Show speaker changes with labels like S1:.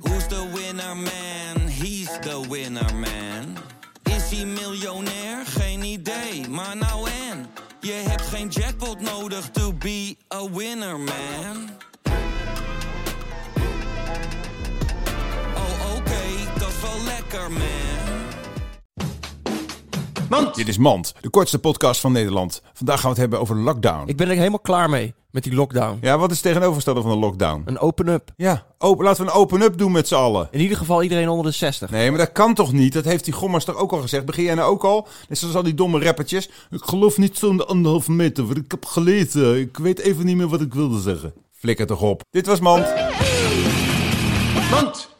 S1: Who's the winner man? He's the winner man. Is hij miljonair? Geen idee, maar nou en. Je hebt geen jackpot nodig to be a winner man. Oh oké, dat is wel lekker man.
S2: Dit is Mand, de kortste podcast van Nederland. Vandaag gaan we het hebben over lockdown.
S3: Ik ben er helemaal klaar mee, met die lockdown.
S2: Ja, wat is het tegenovergestelde van een lockdown?
S3: Een open-up.
S2: Ja, open, laten we een open-up doen met z'n allen.
S3: In ieder geval iedereen onder de 60.
S2: Nee, maar dat kan toch niet? Dat heeft die gommers toch ook al gezegd? Begin jij nou ook al? Net zoals al die domme rappertjes. Ik geloof niet zo'n anderhalve meter, want ik heb gelezen. Ik weet even niet meer wat ik wilde zeggen. Flikker toch op. Dit was Mand. Mand!